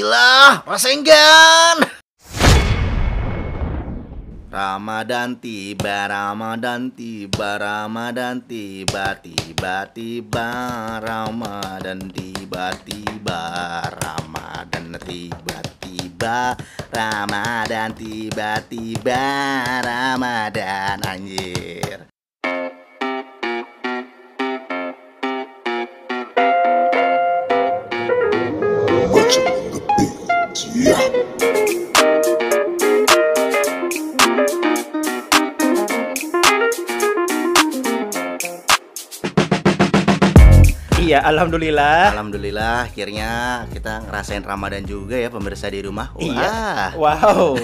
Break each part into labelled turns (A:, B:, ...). A: Bismillah, Rasenggan. Ramadan tiba, Ramadan tiba, Ramadan tiba, tiba tiba Ramadan tiba, tiba Ramadan tiba, tiba Ramadan tiba, tiba Ramadan anjir.
B: Iya, alhamdulillah.
A: Alhamdulillah akhirnya kita ngerasain Ramadan juga ya pemirsa di rumah. Wah,
B: Iya. Wow.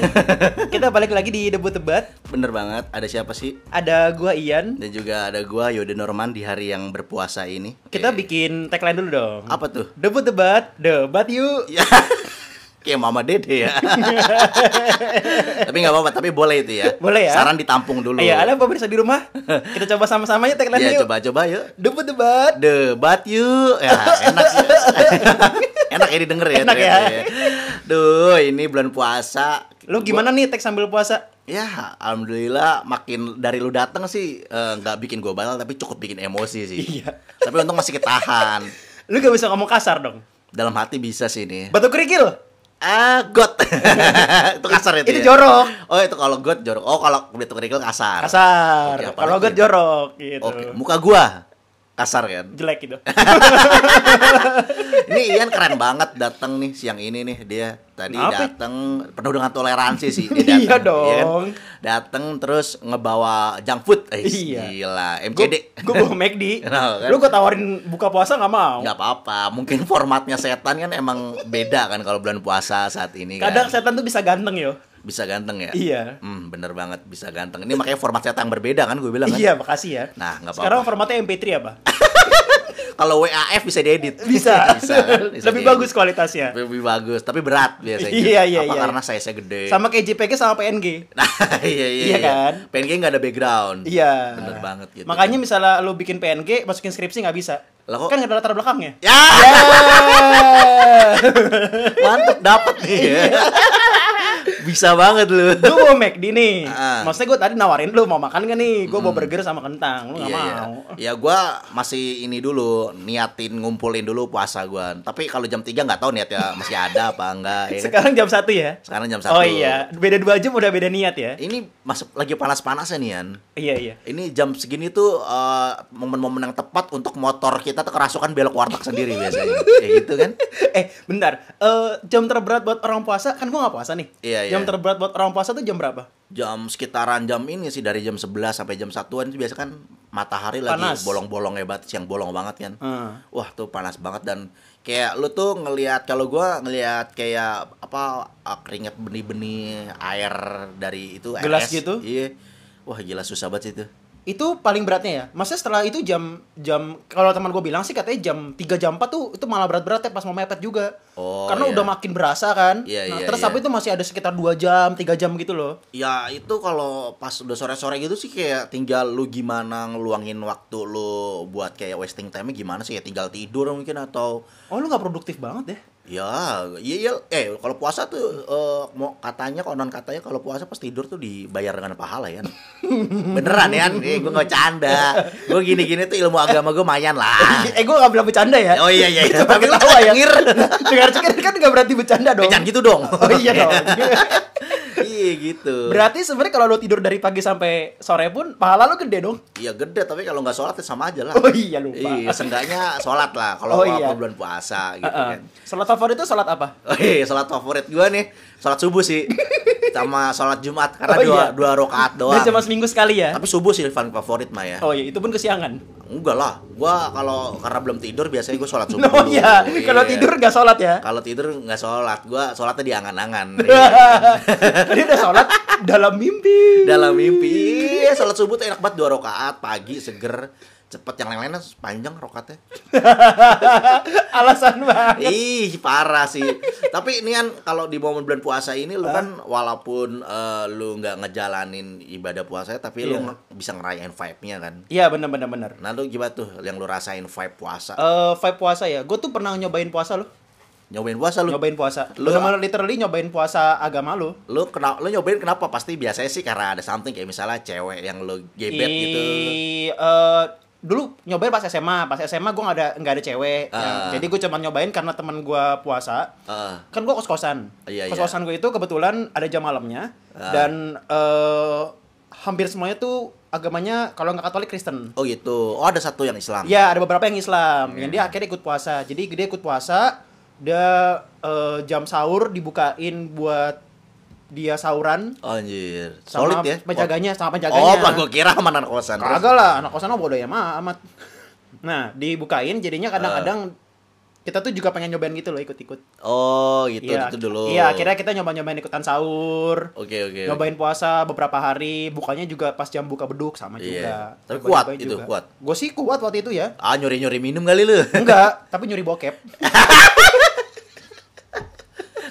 B: Kita balik lagi di debut debat.
A: bener banget. Ada siapa sih?
B: Ada gua Ian.
A: Dan juga ada gua Yode Norman di hari yang berpuasa ini. Oke.
B: Kita bikin tagline dulu dong.
A: apa tuh?
B: Debut debat, debat yuk.
A: Ya. Kayak Mama Dede ya. tapi nggak apa-apa, tapi boleh itu ya.
B: Boleh ya?
A: Saran ditampung dulu.
B: Iya, ada pemirsa di rumah. Kita coba sama-sama ya
A: Ya
B: tagline yuk.
A: coba-coba yuk.
B: Debut debat.
A: Debat yuk. Ya, enak ya. enak ya didengar ya.
B: Enak ya.
A: ternyata Duh, ini bulan puasa.
B: Lu gimana nih tag sambil puasa?
A: Ya, alhamdulillah makin dari lu dateng sih eh, nggak bikin gue batal tapi cukup bikin emosi sih.
B: Iya.
A: Tapi untung masih ketahan.
B: Lu gak bisa ngomong kasar dong.
A: Dalam hati bisa sih ini.
B: Batu kerikil.
A: Ah, got. itu kasar itu.
B: Itu
A: ya?
B: jorok.
A: Oh, itu kalau got jorok. Oh, kalau kulit kerikil kasar.
B: Kasar.
A: Oke, apa
B: Kalau
A: lagi?
B: gue jorok gitu.
A: Oke, muka gua kasar kan.
B: Jelek gitu.
A: Ini Ian keren banget datang nih siang ini nih dia tadi
B: Apa?
A: datang penuh dengan toleransi sih dia datang.
B: Iya
A: ya kan?
B: dong.
A: Datang terus ngebawa junk food. Eh,
B: Iya.
A: gila. MCD.
B: Gue bawa McD.
A: Kenapa, kan?
B: Lu gue tawarin buka puasa gak mau.
A: nggak apa-apa mungkin formatnya setan kan emang beda kan kalau bulan puasa saat ini kan.
B: Kadang setan tuh bisa ganteng yo.
A: bisa ganteng ya
B: Iya.
A: hmm, bener banget bisa ganteng ini makanya format setan berbeda kan gue bilang kan
B: Iya, makasih ya.
A: Nah, nggak apa-apa.
B: Sekarang formatnya MP3 apa?
A: kalau WAF bisa diedit
B: Bisa.
A: kan? Bisa diedit.
B: Lebih bagus kualitasnya.
A: lebih bagus tapi berat biasanya
B: Iya, iya,
A: apa
B: iya.
A: karena size gede
B: Sama kayak JPG sama PNG.
A: nah iya iya,
B: Iya kan?
A: PNG nggak ada background
B: Iya.
A: bener banget gitu
B: Makanya misalnya lu bikin PNG, masukin skripsi nggak bisa.
A: Lah, kok-
B: Kan nggak ada latar belakangnya. Eh,
A: ya mantep dapet nih
B: Iya.
A: bisa banget lu
B: gue mau McD nih.
A: Ah. Hmm.
B: Maksudnya gue tadi nawarin lu mau makan gak nih? Gue bawa burger sama kentang. Lu nggak
A: Iya, iya.
B: mau.
A: Ya gua masih ini dulu niatin ngumpulin dulu puasa gua. Tapi kalau jam 3 nggak tahu niatnya masih ada apa enggak ya. kan?
B: Sekarang jam satu ya.
A: Sekarang jam Iya. 1.
B: Oh iya, beda dua jam udah beda niat ya.
A: Ini masuk lagi panas-panasnya nih Yan.
B: Iya iya.
A: Ini jam segini tuh eh, momen-momen yang tepat untuk motor kita tuh kerasukan belok warteg sendiri biasanya. Kayak gitu kan?
B: Eh bentar, Eh jam terberat buat orang puasa kan gue nggak puasa nih.
A: Iya, iya.
B: Jam terberat buat orang puasa tuh jam berapa?
A: Jam sekitaran jam ini sih dari jam 11 sampai jam 1-an itu biasa kan matahari
B: Panas.
A: lagi bolong-bolong hebat, siang bolong banget kan.
B: Hmm.
A: Wah tuh panas banget dan kayak lu tuh ngelihat kalau gua ngelihat kayak apa uh, keringat benih-benih air dari itu air
B: Gelas
A: es.
B: gitu?
A: Iya. Wah gila susah banget sih itu.
B: Itu paling beratnya ya. Maksudnya setelah itu jam jam kalau teman gue bilang sih katanya jam 3 jam 4 tuh itu malah berat-berat ya pas mau mepet juga.
A: Oh, iya.
B: Karena udah makin berasa kan.
A: Iya, iya,
B: terus
A: iya.
B: tapi itu masih ada sekitar 2 jam, 3 jam gitu loh.
A: Ya itu kalau pas udah sore-sore gitu sih kayak tinggal lu gimana ngeluangin waktu lu buat kayak wasting time-nya gimana sih ya tinggal tidur mungkin atau
B: Oh lu nggak produktif banget deh.
A: ya iya iya eh kalau puasa tuh eh, mau katanya konon katanya kalau puasa pas tidur tuh dibayar dengan pahala ya beneran ya eh, gue nggak canda gue gini gini tuh ilmu agama gue mayan lah
B: Eh gue nggak bilang bercanda ya.
A: Ah. oh iya iya
B: Gua
A: iya.
B: Cuma
A: tapi lu
B: ketawa ya.
A: denger
B: Dengar cekir kan nggak berarti bercanda dong.
A: jangan gitu dong
B: Oh iya dong.
A: iya gitu
B: berarti sebenarnya kalau lu tidur dari pagi sampai sore pun pahala lu gede dong.
A: iya gede tapi kalau nggak sholat ya sama aja lah
B: Oh iya lupa.
A: iya seenggaknya sholat lah kalau
B: Oh, iya.
A: apa bulan puasa gitu
B: Heeh.
A: kan
B: Salat favorit itu salat apa?
A: Oh iya, sholat favorit gua nih, sholat subuh sih, sama sholat Jumat karena
B: Oh,
A: dua
B: iya.
A: dua rakaat doang.
B: Dan cuma seminggu sekali ya.
A: Tapi subuh sih fan favorit mah ya.
B: Oh iya, itu pun kesiangan.
A: Enggak lah, gua kalau karena belum tidur biasanya gua sholat subuh.
B: Oh
A: dulu.
B: iya, kalau
A: Iya.
B: tidur nggak sholat ya.
A: kalau tidur nggak sholat, gua sholatnya diangan-angan.
B: Tadi udah sholat dalam mimpi.
A: Dalam mimpi, Iya, sholat subuh tuh enak banget dua rakaat pagi seger cepet yang lain-lainnya panjang rokatnya
B: Alasan banget.
A: ih parah sih tapi ini kan kalau di momen bulan puasa ini lu kan walaupun eh, lu nggak ngejalanin ibadah puasanya tapi lu
B: Iya.
A: nge- bisa ngerayain vibe-nya kan
B: Iya bener bener bener.
A: nah lu gimana tuh yang lu rasain vibe puasa
B: Eh vibe puasa ya. Gue tuh pernah nyobain puasa loh.
A: nyobain puasa lu
B: nyobain puasa.
A: Lu-
B: Lu bener literally nyobain puasa agama lu.
A: lu kena lu nyobain kenapa pasti biasanya sih karena ada something kayak misalnya cewek yang lu gebet
B: I-
A: gitu
B: eh, dulu nyobain pas SMA, pas SMA gue nggak ada nggak ada cewek. yang-
A: Ah.
B: jadi gue cuma nyobain karena teman gue puasa.
A: Heeh.
B: Kan gue kos kosan.
A: Iya, iya.
B: kos kosan gue itu kebetulan ada jam malamnya
A: Ah.
B: dan eh, hampir semuanya tuh agamanya kalau nggak Katolik Kristen.
A: oh gitu oh ada satu yang Islam
B: Ya ada beberapa yang Islam
A: Iya.
B: yang dia akhirnya ikut puasa. Jadi dia ikut puasa, dia eh, jam sahur dibukain buat dia sauran
A: anjir
B: sama
A: solid ya
B: penjaganya sama penjaganya.
A: oh pak gue kira sama anak kosan Terus,
B: Kagak lah, anak kosan mah bodoh ya mah amat. Nah, dibukain jadinya
A: Eh.
B: kadang-kadang kita tuh juga pengen nyobain gitu loh ikut-ikut.
A: oh gitu
B: Iya,
A: itu dulu
B: Iya, akhirnya kita nyoba-nyobain ikutan sahur.
A: oke oke oke.
B: Nyobain puasa beberapa hari, bukanya juga pas jam buka beduk
A: Iya.
B: sama juga.
A: Tapi kuat itu, kuat.
B: Gue sih kuat waktu itu ya.
A: ah nyuri nyuri minum kali lu
B: Enggak, tapi nyuri bokep.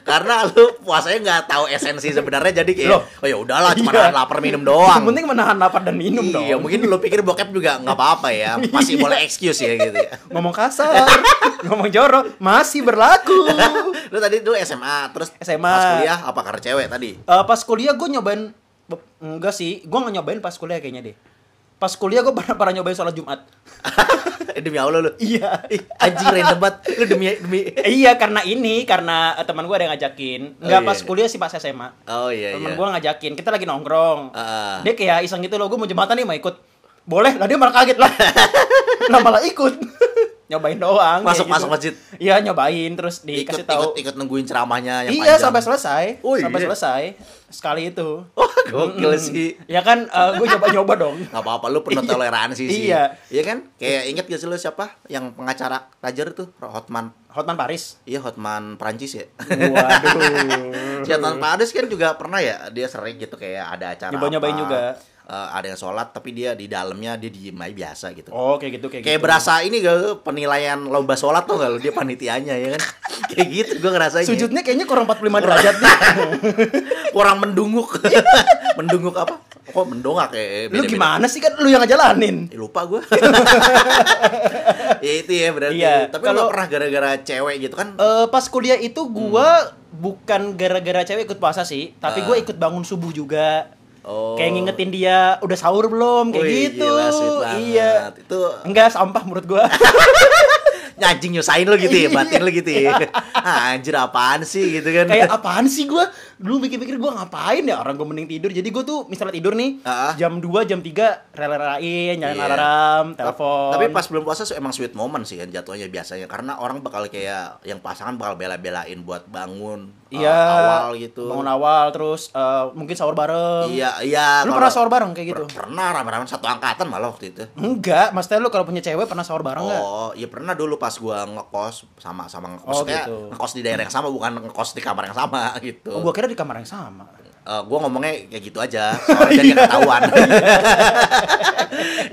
A: karena lu puasanya nggak tahu esensi sebenarnya jadi kayak
B: Loh.
A: oh ya udahlah cuma
B: Iya.
A: nahan lapar minum doang
B: Yang penting menahan lapar dan minum dong.
A: iya
B: Iya.
A: mungkin lu pikir bokep juga nggak apa-apa ya masih boleh excuse ya gitu ya
B: Ngomong kasar, ngomong jorok, masih berlaku.
A: lu tadi dulu SMA terus
B: SMA.
A: pas kuliah apa karena cewek tadi
B: Eh, pas kuliah gue nyobain be- enggak sih, gue nggak nyobain pas kuliah kayaknya deh. Pas kuliah gue pernah pernah nyobain sholat Jumat.
A: demi Allah lu
B: Iya.
A: Ih, anjing random banget lu demi demi
B: iya karena ini karena eh, teman gue ada yang ngajakin. Enggak
A: iya,
B: pas
A: iya.
B: kuliah sih pas SMA.
A: oh iya
B: Temen
A: iya
B: gue ngajakin, kita lagi nongkrong.
A: Ah.
B: Dia kayak iseng gitu loh, gue mau jembatan nih mau ikut. Boleh, lah dia malah kaget lah. lah malah ikut. nyobain doang. kayak
A: Masuk-
B: gitu.
A: masuk masjid.
B: Iya nyobain terus
A: ikut, ikut
B: dikasih tahu.
A: ikut nungguin ceramahnya yang
B: Iya
A: panjang.
B: sampai selesai,
A: Oh,
B: sampai
A: iya.
B: selesai sekali itu.
A: oh gokil
B: Mm-mm.
A: sih
B: Ya kan, gue nyoba-nyoba dong.
A: Gak apa-apa, lu penuh toleransi sih
B: Iya.
A: Iya kan? Kayak inget gak sih lu siapa? Yang pengacara Rajer tuh, Hotman
B: Hotman Paris.
A: Iya, Hotman Prancis ya
B: Waduh.
A: Si Hotman Paris kan juga pernah ya Dia sering gitu kayak ada acara
B: Nyoba-nyobain
A: apa,
B: juga.
A: eh, Ada yang sholat, tapi dia di dalamnya dia diem aja biasa gitu
B: Oh, kayak gitu kayak,
A: Kayak
B: gitu.
A: berasa ini gak lu, penilaian lomba sholat tuh gak lu? Dia panitianya ya kan? Kayak gitu gue ngerasain ya.
B: Sujudnya kayaknya kurang 45 derajat nih.
A: Orang mendunguk Mendunguk apa? Kok mendongak ya?
B: lu
A: Beda-beda.
B: gimana sih kan lu yang ngejalanin?
A: Eh, lupa gue ya itu ya berarti
B: Iya,
A: tapi kalau
B: kalau-
A: pernah gara-gara cewek gitu kan
B: Eh pas kuliah itu gua bukan gara-gara cewek ikut puasa sih, tapi gua ikut bangun subuh juga.
A: Oh.
B: Kayak ngingetin dia udah sahur belum kayak
A: Wih,
B: gitu.
A: gila, sweet banget.
B: iya.
A: itu
B: Enggak sampah menurut gua.
A: anjing nyusahin lo gitu ya
B: Iya.
A: batin lo gitu ya Ah, anjir apaan sih gitu kan
B: kayak apaan sih gua? Dulu mikir-mikir gua ngapain ya orang gua mending tidur. Jadi gua tuh misalnya tidur nih
A: Ah.
B: jam 2, jam 3 rela-relain nyalain
A: Iya.
B: alarm,
A: Ta-
B: telepon.
A: tapi pas belum puasa su- emang sweet moment sih kan jatuhnya biasanya karena orang bakal kayak yang pasangan bakal bela-belain buat bangun uh,
B: Iya,
A: awal gitu
B: Bangun awal terus eh, mungkin sahur bareng.
A: iya iya
B: Lu
A: kalau-
B: pernah sahur bareng kayak gitu?
A: per- pernah rame-rame satu angkatan malah waktu itu
B: Enggak, maksudnya lu kalau punya cewek pernah sahur bareng enggak?
A: Oh, iya pernah dulu pas gua ngekos sama sama ngekos.
B: Oh,
A: Maksudnya
B: gitu.
A: ngekos di daerah yang sama bukan ngekos di kamar yang sama gitu.
B: Oh,
A: gua...
B: gua kira di kamar yang sama.
A: Eh, gua ngomongnya kayak gitu aja,
B: Oh,
A: soalnya jadi ketahuan.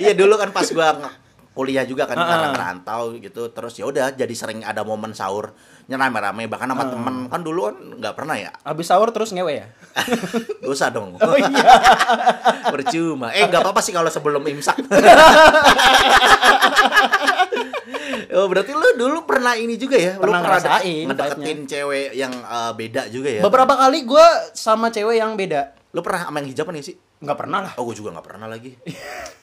A: Iya dulu kan pas gua nge- kuliah juga kan karena
B: Heeh.
A: ngerantau gitu terus ya udah jadi sering ada momen sahur rame-rame bahkan sama temen kan dulu kan nggak pernah ya
B: Abis sahur terus ngewe ya?
A: gak usah dong
B: Oh iya.
A: percuma eh nggak apa-apa sih kalau sebelum imsak oh berarti lu dulu pernah ini juga ya lu
B: Pernah
A: deket-
B: ngerasain
A: ngedeketin cewek yang eh, beda juga ya
B: Beberapa kali gue sama cewek yang beda.
A: lu pernah sama yang hijaban gak sih
B: Nggak pernah lah.
A: oh gue juga nggak pernah lagi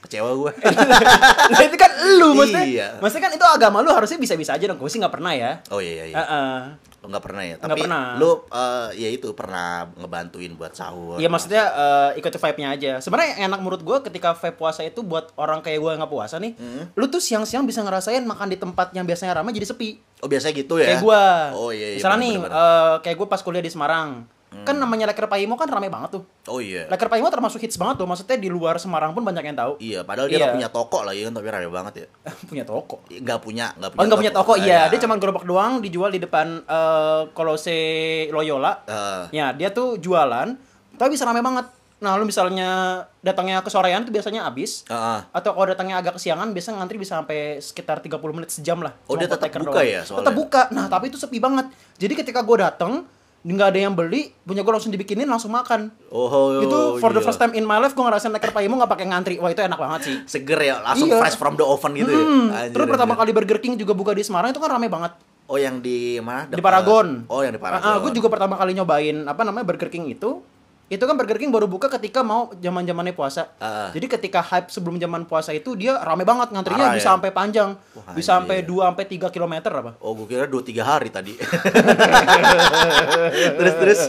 A: kecewa gue
B: nah, itu kan lu maksudnya.
A: Iya.
B: Maksudnya kan itu agama lu harusnya bisa-bisa aja dong. Gue sih nggak pernah ya.
A: oh iya iya, iya
B: Heeh.
A: Lu nggak pernah ya
B: Nggak
A: tapi
B: pernah.
A: lu eh, ya itu pernah ngebantuin buat sahur
B: Iya maksudnya eh, ikut vibe-nya aja. Sebenarnya yang enak menurut gue ketika vibe puasa itu buat orang kayak gue yang nggak puasa nih,
A: Hmm.
B: lu tuh siang-siang bisa ngerasain makan di tempat yang biasanya ramai jadi sepi.
A: oh biasanya gitu ya
B: Kayak gue.
A: oh iya, iya
B: Misalnya
A: bener,
B: nih,
A: bener, bener.
B: eh, kayak gue pas kuliah di Semarang, kan namanya Leker Paimo kan ramai banget tuh.
A: oh iya
B: Leker Paimo termasuk hits banget tuh. Maksudnya di luar Semarang pun banyak yang tahu.
A: iya padahal dia
B: Iya.
A: nggak punya toko lah ya tapi rame banget ya
B: punya toko.
A: nggak punya nggak punya
B: Oh nggak punya toko,
A: Ah,
B: iya. Dia cuma gerobak doang dijual di depan eh, Kolose Loyola.
A: Eh.
B: Ya, dia tuh jualan, tapi bisa rame banget. Nah, lu misalnya datangnya kesorean tuh biasanya habis.
A: Ah, ah.
B: Atau kalau datangnya agak kesiangan, biasanya ngantri bisa sampai sekitar 30 menit sejam lah.
A: Oh,
B: Cuma
A: dia
B: buat
A: tetap
B: taker
A: buka ya soalnya?
B: Tetap buka. Nah, tapi itu sepi banget. Jadi ketika gue dateng, nggak ada yang beli, punya gue langsung dibikinin, langsung makan.
A: Oh,
B: itu for the
A: iya.
B: first time in my life gue ngerasain leker payemu nggak pakai ngantri. Wah, itu enak banget sih.
A: seger ya langsung
B: Iya.
A: fresh from the oven gitu ya
B: Hmm,
A: Anjir,
B: terus pertama
A: anjir.
B: kali Burger King juga buka di Semarang itu kan rame banget.
A: Oh yang di mana?
B: Di
A: Dekat-
B: Paragon.
A: Oh yang di Paragon.
B: gue juga pertama kali nyobain apa namanya Burger King itu. Itu kan Burger King baru buka ketika mau zaman zamannya puasa.
A: Ah.
B: Jadi ketika hype sebelum zaman puasa itu dia rame banget ngantrinya
A: Parah
B: bisa
A: ya?
B: sampai panjang.
A: Wah,
B: bisa sampai
A: anjir.
B: 2 sampai 3 kilometer apa?
A: Oh gue kira dua tiga hari tadi. terus terus.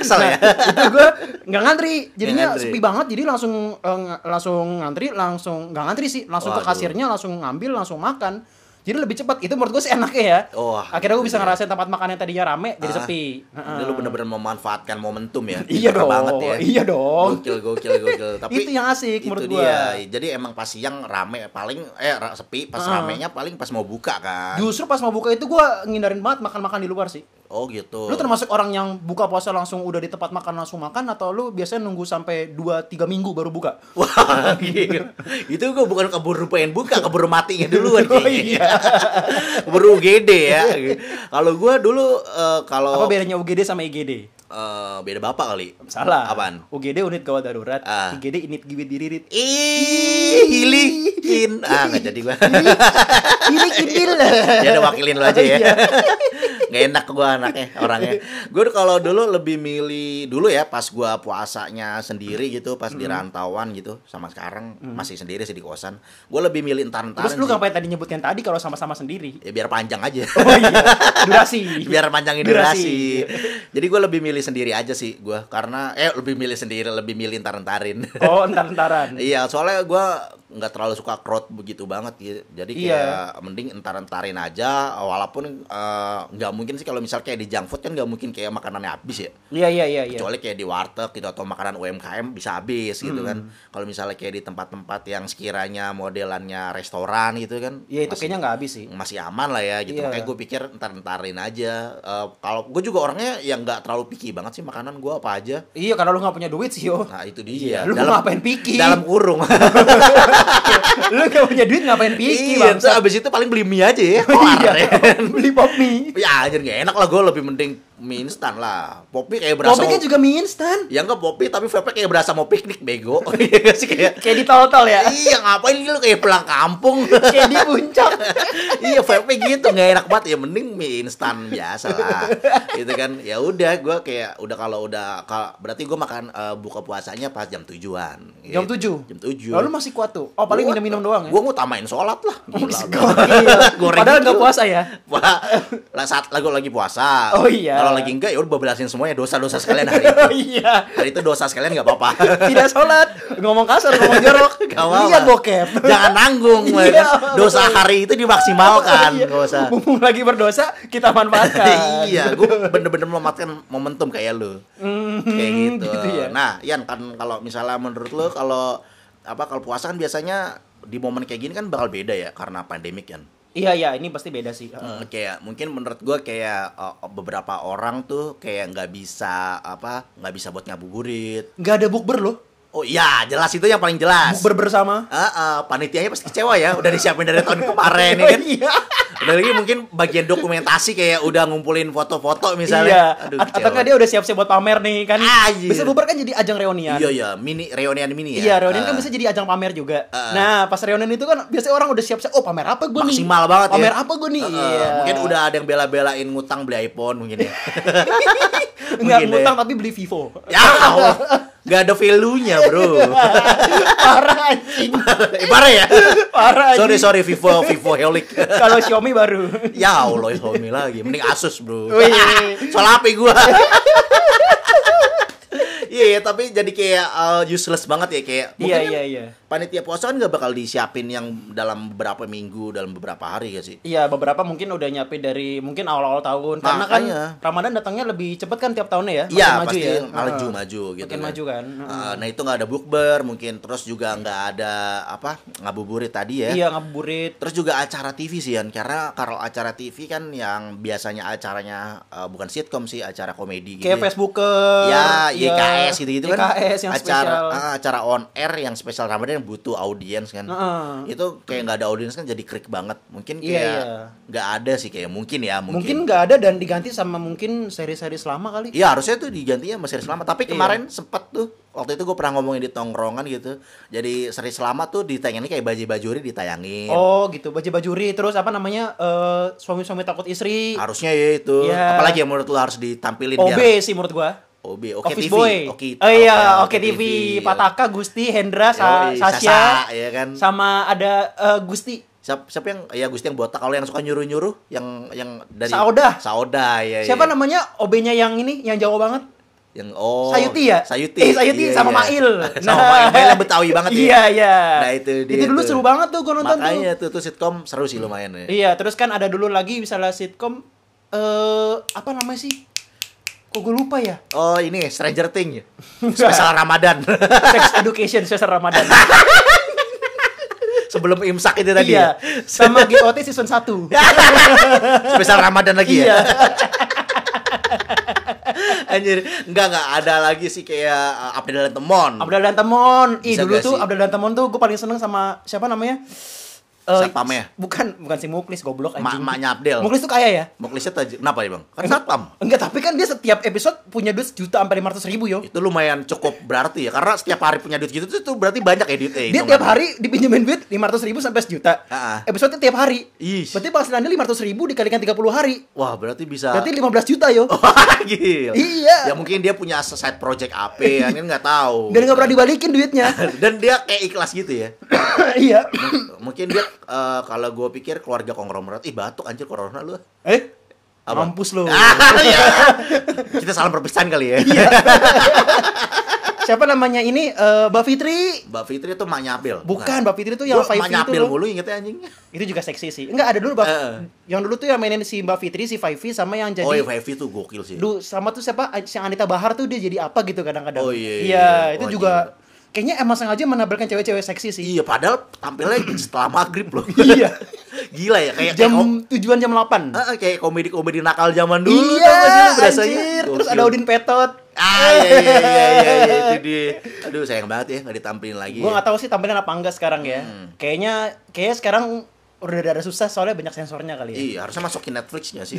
A: Kesel ya.
B: Nah, itu gue nggak ngantri jadinya
A: Nggak ngantri.
B: sepi banget jadi langsung eh, ng- langsung ngantri langsung nggak ngantri sih langsung ke
A: Waduh.
B: kasirnya langsung ngambil langsung makan jadi lebih cepat itu menurut gue sih enaknya ya
A: Wah,
B: akhirnya gue
A: gitu
B: bisa
A: ya.
B: ngerasain tempat makan yang tadinya rame jadi
A: Ah,
B: sepi
A: Ini lu bener-bener memanfaatkan momentum ya.
B: Nah, Iya
A: Pinter
B: dong,
A: Banget ya.
B: iya dong.
A: Gokil, gokil, gokil. Tapi
B: Itu yang asik menurut
A: itu
B: gua.
A: dia. Jadi emang pas siang rame paling eh ra- sepi, pas
B: Ah.
A: ramenya paling pas mau buka kan.
B: justru pas mau buka itu gue ngindarin banget makan-makan di luar sih
A: Oh gitu.
B: lu termasuk orang yang buka puasa langsung udah di tempat makan langsung makan atau lu biasanya nunggu sampai 2-3 minggu baru buka
A: Wah, gila. itu gua bukan keburu pengen buka, keburu matinya duluan.
B: Oh,
A: kayaknya. keburu UGD ya. Kalau gua dulu eh,
B: apa
A: kalau
B: bedanya UGD sama IGD
A: eh, beda bapak kali.
B: salah
A: Apaan?
B: UGD unit gawat darurat
A: Ah.
B: IGD unit gawat diririt
A: Ih, hilikin. Ah, nggak jadi gua.
B: Iya. Ini kidil.
A: Ya udah wakilin lo aja ya.
B: Iya.
A: Nggak enak gua anaknya orangnya. Gue kalau dulu lebih milih dulu ya pas gua puasanya sendiri gitu, pas di
B: Hmm.
A: rantauan gitu sama sekarang masih sendiri sih di kosan. Gua lebih milih entar-entaran.
B: Terus
A: sih.
B: lu ngapain tadi nyebutkan tadi kalau sama-sama sendiri?
A: Ya, biar panjang aja.
B: Oh iya, durasi.
A: biar panjangin
B: Durasi.
A: durasi. Jadi gua lebih milih sendiri aja sih gua karena eh lebih milih sendiri, lebih milih entar-entarin.
B: Oh, entar-entaran.
A: Iya, soalnya gua nggak terlalu suka crowd begitu banget gitu. Jadi kayak
B: Iya.
A: mending entar-entarin aja walaupun eh, nggak mungkin sih kalau misal kayak di junk food kan nggak mungkin kayak makanannya habis ya.
B: Iya, iya, iya, iya.
A: Kecuali kayak di warteg gitu atau makanan UMKM bisa habis gitu kan.
B: Hmm.
A: Kalau misalnya kayak di tempat-tempat yang sekiranya modelannya restoran gitu kan.
B: Ya
A: masih-
B: itu kayaknya nggak habis sih.
A: masih aman lah ya gitu.
B: Iya.
A: Makanya gue pikir entar-entarin aja. Eh, kalau gue juga orangnya yang nggak terlalu picky banget sih makanan gue apa aja.
B: Iya, karena lu nggak punya duit sih, yo.
A: Nah, itu dia.
B: Iya, Lu ngapain picky?
A: Dalam kurung.
B: lu nggak punya duit ngapain picky,
A: Iya,
B: bangsa?
A: terus abis itu paling beli mie aja ya.
B: Iya,
A: Kelar ya.
B: beli pop mie.
A: Ya anjir gak enak lah gue lebih mending mie instan lah. Popi kayak berasa oh.
B: Kopi kan
A: mau-
B: juga mie instan.
A: Ya enggak popi tapi vape kayak berasa mau piknik bego. Iya nggak sih kayak
B: Kayak di tol-tol ya.
A: Iya ngapain lu kayak pulang kampung.
B: Kayak di puncak.
A: iya vape gitu nggak enak banget ya mending mie instan biasa lah. Gitu kan. Ya udah gue kayak udah kalau udah kal- berarti gue makan eh, buka puasanya pas jam tujuan. Gitu.
B: Jam tujuh?
A: Jam tujuh.
B: Lalu masih kuat tuh. Oh, paling minum-minum doang ya.
A: Gue ngutamain sholat lah. Gila,
B: Gokil.
A: Goreng
B: Padahal nggak
A: gitu.
B: puasa ya.
A: Wah, lah saat lagu lagi puasa.
B: Oh, iya.
A: Kalau lagi enggak ya udah bablasin semuanya dosa-dosa sekalian hari itu.
B: Oh iya.
A: Hari itu dosa sekalian nggak apa-apa.
B: tidak sholat ngomong kasar ngomong jorok
A: Nggak apa-apa.
B: lihat bokep
A: Jangan nanggung,
B: Iya,
A: ya kan?
B: betul.
A: dosa hari itu dimaksimalkan,
B: Iya.
A: kan, nggak usah.
B: mumpung lagi berdosa kita manfaatkan
A: iya, gue bener-bener memanfaatkan momentum kayak lu. kayak gitu.
B: gitu ya.
A: Nah, Yan kan kalau misalnya menurut lu kalau apa kalau puasa kan biasanya di momen kayak gini kan bakal beda ya karena pandemik kan.
B: iya iya ini pasti beda sih
A: Hmm, kayak mungkin menurut gua kayak uh, beberapa orang tuh kayak nggak bisa apa nggak bisa buat ngabuburit
B: nggak ada bukber loh
A: oh iya jelas itu yang paling jelas
B: bukber bersama
A: Ah, ah, panitianya pasti kecewa ya udah disiapin dari tahun kemarin ya kan
B: iya
A: udah lagi mungkin bagian dokumentasi kayak udah ngumpulin foto-foto
B: iya
A: misalnya Aduh, kecewa.
B: At- atau
A: Ah, iya.
B: nggak dia udah siap-siap buat pamer nih kan
A: Anjir.
B: bisa bukber kan jadi ajang reunian
A: iya iya mini reunian mini
B: Iya,
A: ya
B: reunian kan
A: Ah.
B: bisa jadi ajang pamer juga.
A: Ah.
B: Nah, pas reunian itu kan biasanya orang udah siap-siap, oh pamer apa gue nih?
A: maksimal banget ya.
B: Pamer apa gue nih? Iya.
A: Heeh, Mungkin udah ada yang bela-belain ngutang beli iPhone mungkin ya.
B: Enggak
A: Mungkin deh.
B: ngutang tapi beli Vivo.
A: ya Allah. Gak ada value-nya, Bro.
B: Iya. Parah anjing.
A: Eh, Parah ya.
B: Parah
A: Sorry,
B: anjing.
A: sorry Vivo Vivo Helix.
B: Kalau Xiaomi baru.
A: ya Allah, Xiaomi lagi. Mending Asus, Bro.
B: Wih.
A: Soal HP gua. Iya, iya, tapi jadi kayak uh, useless banget ya kayak
B: Iya
A: mungkin
B: iya
A: kan
B: iya.
A: Panitia puasa kan gak bakal disiapin yang dalam beberapa minggu, dalam beberapa hari gak sih?
B: Iya beberapa mungkin udah nyapi dari mungkin awal-awal tahun karena kan
A: Makanya.
B: Ramadan datangnya lebih cepet kan tiap tahunnya ya. makin
A: Iya pasti maju
B: Heeh.
A: maju gitu.
B: Makin maju kan. Heeh.
A: Eh, nah itu nggak ada bukber mungkin terus juga nggak ada apa ngabuburit tadi ya.
B: Iya ngabuburit.
A: Terus juga acara TV sih Yan karena kalau acara TV kan yang biasanya acaranya eh, bukan sitkom sih acara komedi gitu.
B: Kayak iya.
A: ya.
B: Facebooker.
A: Ya, YKS gitu-gitu kan.
B: YKS yang
A: acara
B: spesial.
A: ah, acara on air yang spesial Ramadan yang butuh audiens kan.
B: Heeh.
A: Itu kayak nggak ada audiens kan jadi krik banget. Mungkin
B: Iya,
A: kayak
B: iya.
A: nggak ada sih kayak mungkin ya, mungkin.
B: Mungkin nggak ada dan diganti sama mungkin seri-seri selama kali. Iya.
A: Iya harusnya tuh digantinya sama series lama. Tapi kemarin sempet tuh waktu itu gue pernah ngomongin di tongkrongan gitu jadi seri selamat tuh ditayangin kayak baju bajuri ditayangin
B: Oh gitu, baju bajuri terus apa namanya eh, suami-suami takut istri,
A: harusnya ya itu
B: Iya.
A: apalagi yang menurut lo harus ditampilin
B: OB
A: biar
B: sih menurut gua.
A: OB iya. oke
B: Office
A: TV
B: Boy.
A: oke
B: oh iya,
A: oke,
B: Oke TV, Pataka, Gusti, Hendra, Sa-
A: Yoi,
B: Sasha,
A: Sasa, ya kan
B: sama ada eh, Gusti.
A: siapa siapa yang ya Gusti yang botak kalau yang suka nyuruh nyuruh yang yang dari
B: Sauda.
A: Sauda ya
B: Siapa
A: ya.
B: namanya OB-nya yang ini yang jauh banget?
A: yang oh
B: Sayuti ya?
A: Sayuti
B: Eh, Sayuti
A: Iya,
B: sama
A: iya.
B: Mail. Nah.
A: sama Mail Mailnya Betawi banget ya
B: Iya, iya.
A: Nah, itu dia
B: Itu dulu
A: tuh.
B: seru banget tuh gua nonton
A: makanya tuh
B: tuh.
A: tuh sitkom seru sih lumayan ya
B: Iya, terus kan ada dulu lagi misalnya sitkom eh apa namanya sih? Kok gue lupa ya?
A: oh ini Stranger Things spesial Ramadan
B: Sex Education Sesar Ramadan.
A: sebelum imsak itu tadi
B: iya.
A: ya?
B: Sama GOT season 1.
A: Spesial Ramadan lagi ya.
B: Iya.
A: Anjir, enggak enggak ada lagi sih kayak uh, Abdel dan Temon.
B: Abdul dan Temon. Ih,
A: Bisa
B: dulu
A: gak
B: tuh
A: sih?
B: Abdul dan Temon tuh gue paling seneng sama siapa namanya? Eh,
A: Satpam ya?
B: Bukan, bukan si Muklis goblok
A: Mak-
B: anjing.
A: maknya Abdel.
B: Muklis tuh kaya ya?
A: Muklisnya tuh kenapa ya, Bang? Kan satpam.
B: Enggak, tapi kan dia setiap episode punya duit juta sampai 500 ribu yo.
A: Itu lumayan cukup berarti ya karena setiap hari punya duit gitu tuh, tuh berarti banyak ya duit
B: Dia tiap hari dipinjemin duit 500 ribu sampai sejuta.
A: Ah, ah.
B: Episode tiap hari.
A: Ish.
B: Berarti penghasilannya 500 ribu dikalikan 30 hari.
A: Wah, berarti bisa
B: Berarti 15 juta yo.
A: Wah, gila. Ya
B: Iya.
A: mungkin dia punya side project apa ya, ini nggak tahu.
B: Dan nggak pernah dibalikin duitnya.
A: Dan dia kayak ikhlas gitu ya.
B: iya.
A: mungkin dia eh, kalau gue pikir keluarga konglomerat, ih batuk anjir corona lu.
B: Eh?
A: Apa?
B: Mampus lo.
A: Ah, iya. Kita salam perpisahan kali ya.
B: Siapa namanya ini? Eh, Mbak Fitri.
A: Mbak Fitri itu maknya Abel.
B: Bukan, Mbak Fitri tuh yang
A: Gua
B: Five
A: maknya
B: itu
A: Abel
B: loh.
A: mulu ingetnya anjing.
B: Itu juga seksi sih. Enggak ada dulu Mbak.
A: Heeh.
B: Yang dulu tuh yang mainin si Mbak Fitri, si Faifi sama yang
A: Eh.
B: jadi
A: oh iya, Five itu gokil sih.
B: Duh, sama tuh siapa? Si Anita Bahar tuh dia jadi apa gitu kadang-kadang.
A: Oh, iya, iya.
B: itu
A: Wah,
B: juga kayaknya emang sengaja menampilkan cewek-cewek seksi sih.
A: Iya, padahal tampilnya setelah maghrib loh.
B: Iya.
A: Gila ya, kayak
B: jam
A: kayak,
B: tujuan jam 8.
A: eh, kayak komedi-komedi nakal zaman dulu
B: Dulu
A: tau gak sih lu gitu?
B: iya,
A: berasanya?
B: anjir. Terus
A: Gokil.
B: ada Udin Petot.
A: Ah, iya, iya, iya, iya, iya, itu dia. Aduh, sayang banget ya, nggak ditampilin lagi.
B: Gua
A: ya.
B: nggak tahu sih tampilan apa enggak sekarang ya.
A: Hmm.
B: Kayaknya kayaknya sekarang udah ada susah soalnya banyak sensornya kali ya. Iya,
A: Iya, harusnya masukin Netflixnya sih.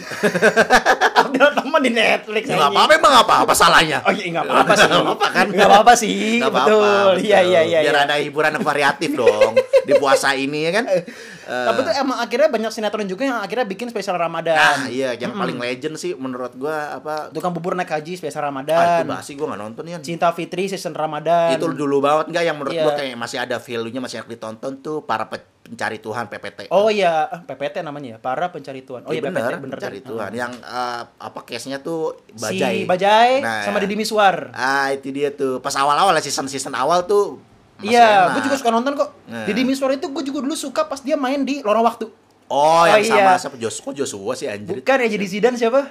B: Update teman di Netflix.
A: Ya,
B: anjing.
A: nggak apa-apa, emang nggak apa-apa salahnya.
B: iya. Oh iya nggak apa-apa sih.
A: Nggak apa-apa kan?
B: Nggak apa-apa sih.
A: Nggak apa-apa,
B: betul. Iya
A: betul.
B: iya iya.
A: Biar
B: iya.
A: ada hiburan yang variatif dong di puasa ini ya kan. Eh,
B: Tapi tuh emang akhirnya banyak sinetron juga yang akhirnya bikin spesial Ramadan.
A: Nah, iya yang paling legend sih menurut gua apa
B: Tukang bubur naik haji spesial
A: ah, itu
B: Ramadan.
A: basi gua nggak nonton ya.
B: Cinta Fitri season Ramadan.
A: Itu dulu banget nggak yang menurut gua
B: Iya.
A: kayak masih ada value-nya masih harus ditonton tuh para pe- pencari Tuhan PPT.
B: Oh iya, Ah, PPT namanya ya, para pencari Tuhan. Oh iya,
A: benar,
B: PPT bener.
A: pencari
B: Ah.
A: Tuhan. Yang eh, apa case-nya tuh
B: Si
A: Bajai.
B: Bajai
A: Nah,
B: sama
A: ya.
B: Deddy Miswar.
A: Ah, itu dia tuh. Pas awal-awal lah, season-season awal tuh masih
B: Iya,
A: enak.
B: gue juga suka nonton kok.
A: Nah.
B: Deddy Miswar itu gue juga dulu suka pas dia main di Lorong Waktu.
A: Oh, yang
B: Oh,
A: sama
B: iya.
A: siapa Joshua, kok Joshua sih anjir.
B: Bukan ya jadi Zidane siapa?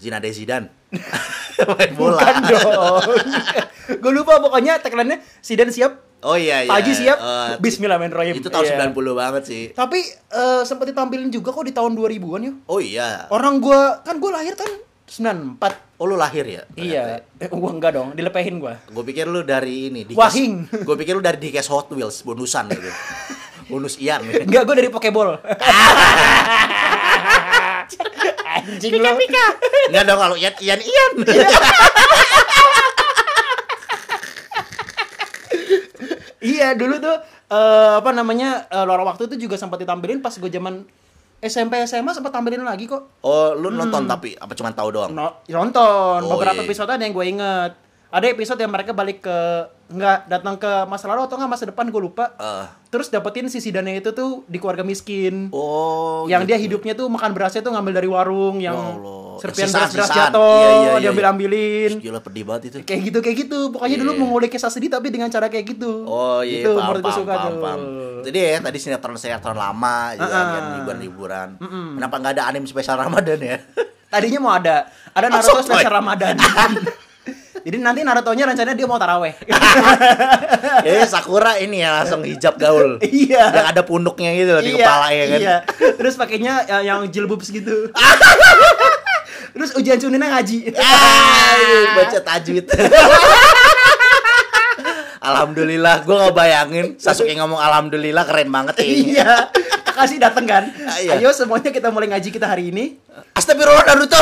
A: Zinedine Zidane. Main bola.
B: Bukan dong. gue lupa pokoknya tagline-nya Zidane siap,
A: Oh iya iya.
B: Pak Haji siap,
A: Eh,
B: Bismillahirrahmanirrahim.
A: itu tahun
B: Iya.
A: 90 banget sih.
B: Tapi eh, sempat ditampilin juga kok di tahun 2000-an ya.
A: Oh iya.
B: Orang gua kan gua lahir kan 94.
A: Oh lu lahir ya?
B: Iya, eh, gua enggak dong, dilepehin gua.
A: Gue pikir lu dari ini. Dikes,
B: Wahing.
A: Gue pikir lu dari Dikes Hot Wheels bonusan gitu. Bonus Ian.
B: Enggak, gua dari Pokeball. Anjing lu.
A: Enggak dong kalau Ian Ian Ian.
B: Iya, dulu tuh eh, apa namanya? eh, lorong waktu itu juga sempat ditampilin pas gua zaman SMP SMA sempat tampilin lagi kok.
A: oh lu
B: Hmm.
A: nonton tapi apa cuma tahu doang?
B: No- nonton
A: Oh,
B: beberapa
A: iya.
B: episode ada yang gue inget. Ada episode yang mereka balik ke enggak datang ke masa lalu atau enggak masa depan gue lupa.
A: Eh.
B: Terus dapetin si Sidane itu tuh di keluarga miskin.
A: Oh.
B: yang
A: gitu.
B: dia hidupnya tuh makan berasnya tuh ngambil dari warung yang
A: Ya Allah.
B: serpian
A: Yang
B: beras beras
A: sisaan-sisaan.
B: jatuh
A: Iya, iya, iya,
B: diambil ambilin
A: Gila pedih banget itu.
B: kayak gitu kayak gitu pokoknya dulu
A: Iya.
B: mengulik kisah sedih tapi dengan cara kayak gitu
A: Oh iya,
B: Gitu,
A: paham,
B: menurut gua
A: paham,
B: suka
A: paham,
B: tuh.
A: paham. Jadi ya tadi sinetron-sinetron lama juga kan liburan-liburan. Kenapa nggak ada anime spesial Ramadan ya?
B: tadinya mau ada ada
A: Langsung,
B: Naruto
A: coy.
B: spesial Ramadan jadi nanti Naruto-nya rencananya dia mau taraweh
A: Eh Sakura ini ya langsung hijab gaul.
B: Iya.
A: Yang ada punuknya gitu loh di kepala ya kan.
B: iya. terus pakainya eh, yang jilbab segitu terus ujian cuninnya ngaji
A: Ah, baca tajwid. alhamdulillah, gue ngebayangin Sasuke ngomong alhamdulillah keren banget kayaknya.
B: iya kasih dateng kan
A: Ah, iya.
B: ayo semuanya kita mulai ngaji kita hari ini
A: Astagfirullah Naruto.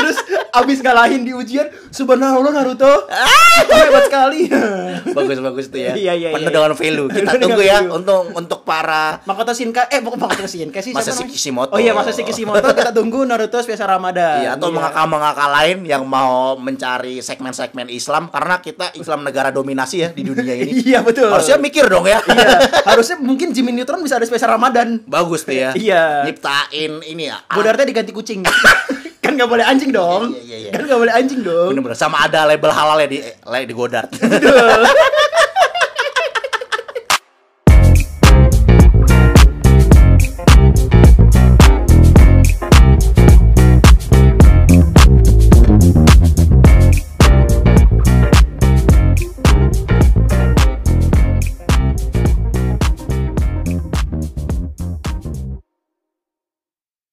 B: Terus abis habis ngalahin di ujian, subhanallah Naruto.
A: Ah.
B: Hebat sekali.
A: Bagus-bagus tuh ya.
B: Iya, iya, iya.
A: Penuh dengan value. Kita
B: Penuh
A: tunggu
B: dengan
A: ya
B: value.
A: untuk untuk para
B: Makoto Shinkai, eh bukan Makoto Shinkai sih.
A: Masa
B: siapa
A: si
B: namanya?
A: Kishimoto.
B: Oh iya, masa si Kishimoto kita tunggu Naruto spesial Ramadan.
A: Iya, atau mengakal-mengakal lain yang mau mencari segmen-segmen Islam karena kita Islam negara dominasi ya di dunia ini.
B: Iya, betul.
A: Harusnya mikir dong ya.
B: Iya, harusnya mungkin Jimmy Neutron bisa ada spesial Ramadan.
A: Bagus tuh ya.
B: Iya.
A: Nyiptain ini ya.
B: Bodartnya diganti kucing. kan nggak boleh anjing dong.
A: Iya, iya, iya.
B: Kan nggak boleh anjing dong.
A: Bener-bener sama ada label halal ya di le- di eh, Godard.
B: Betul.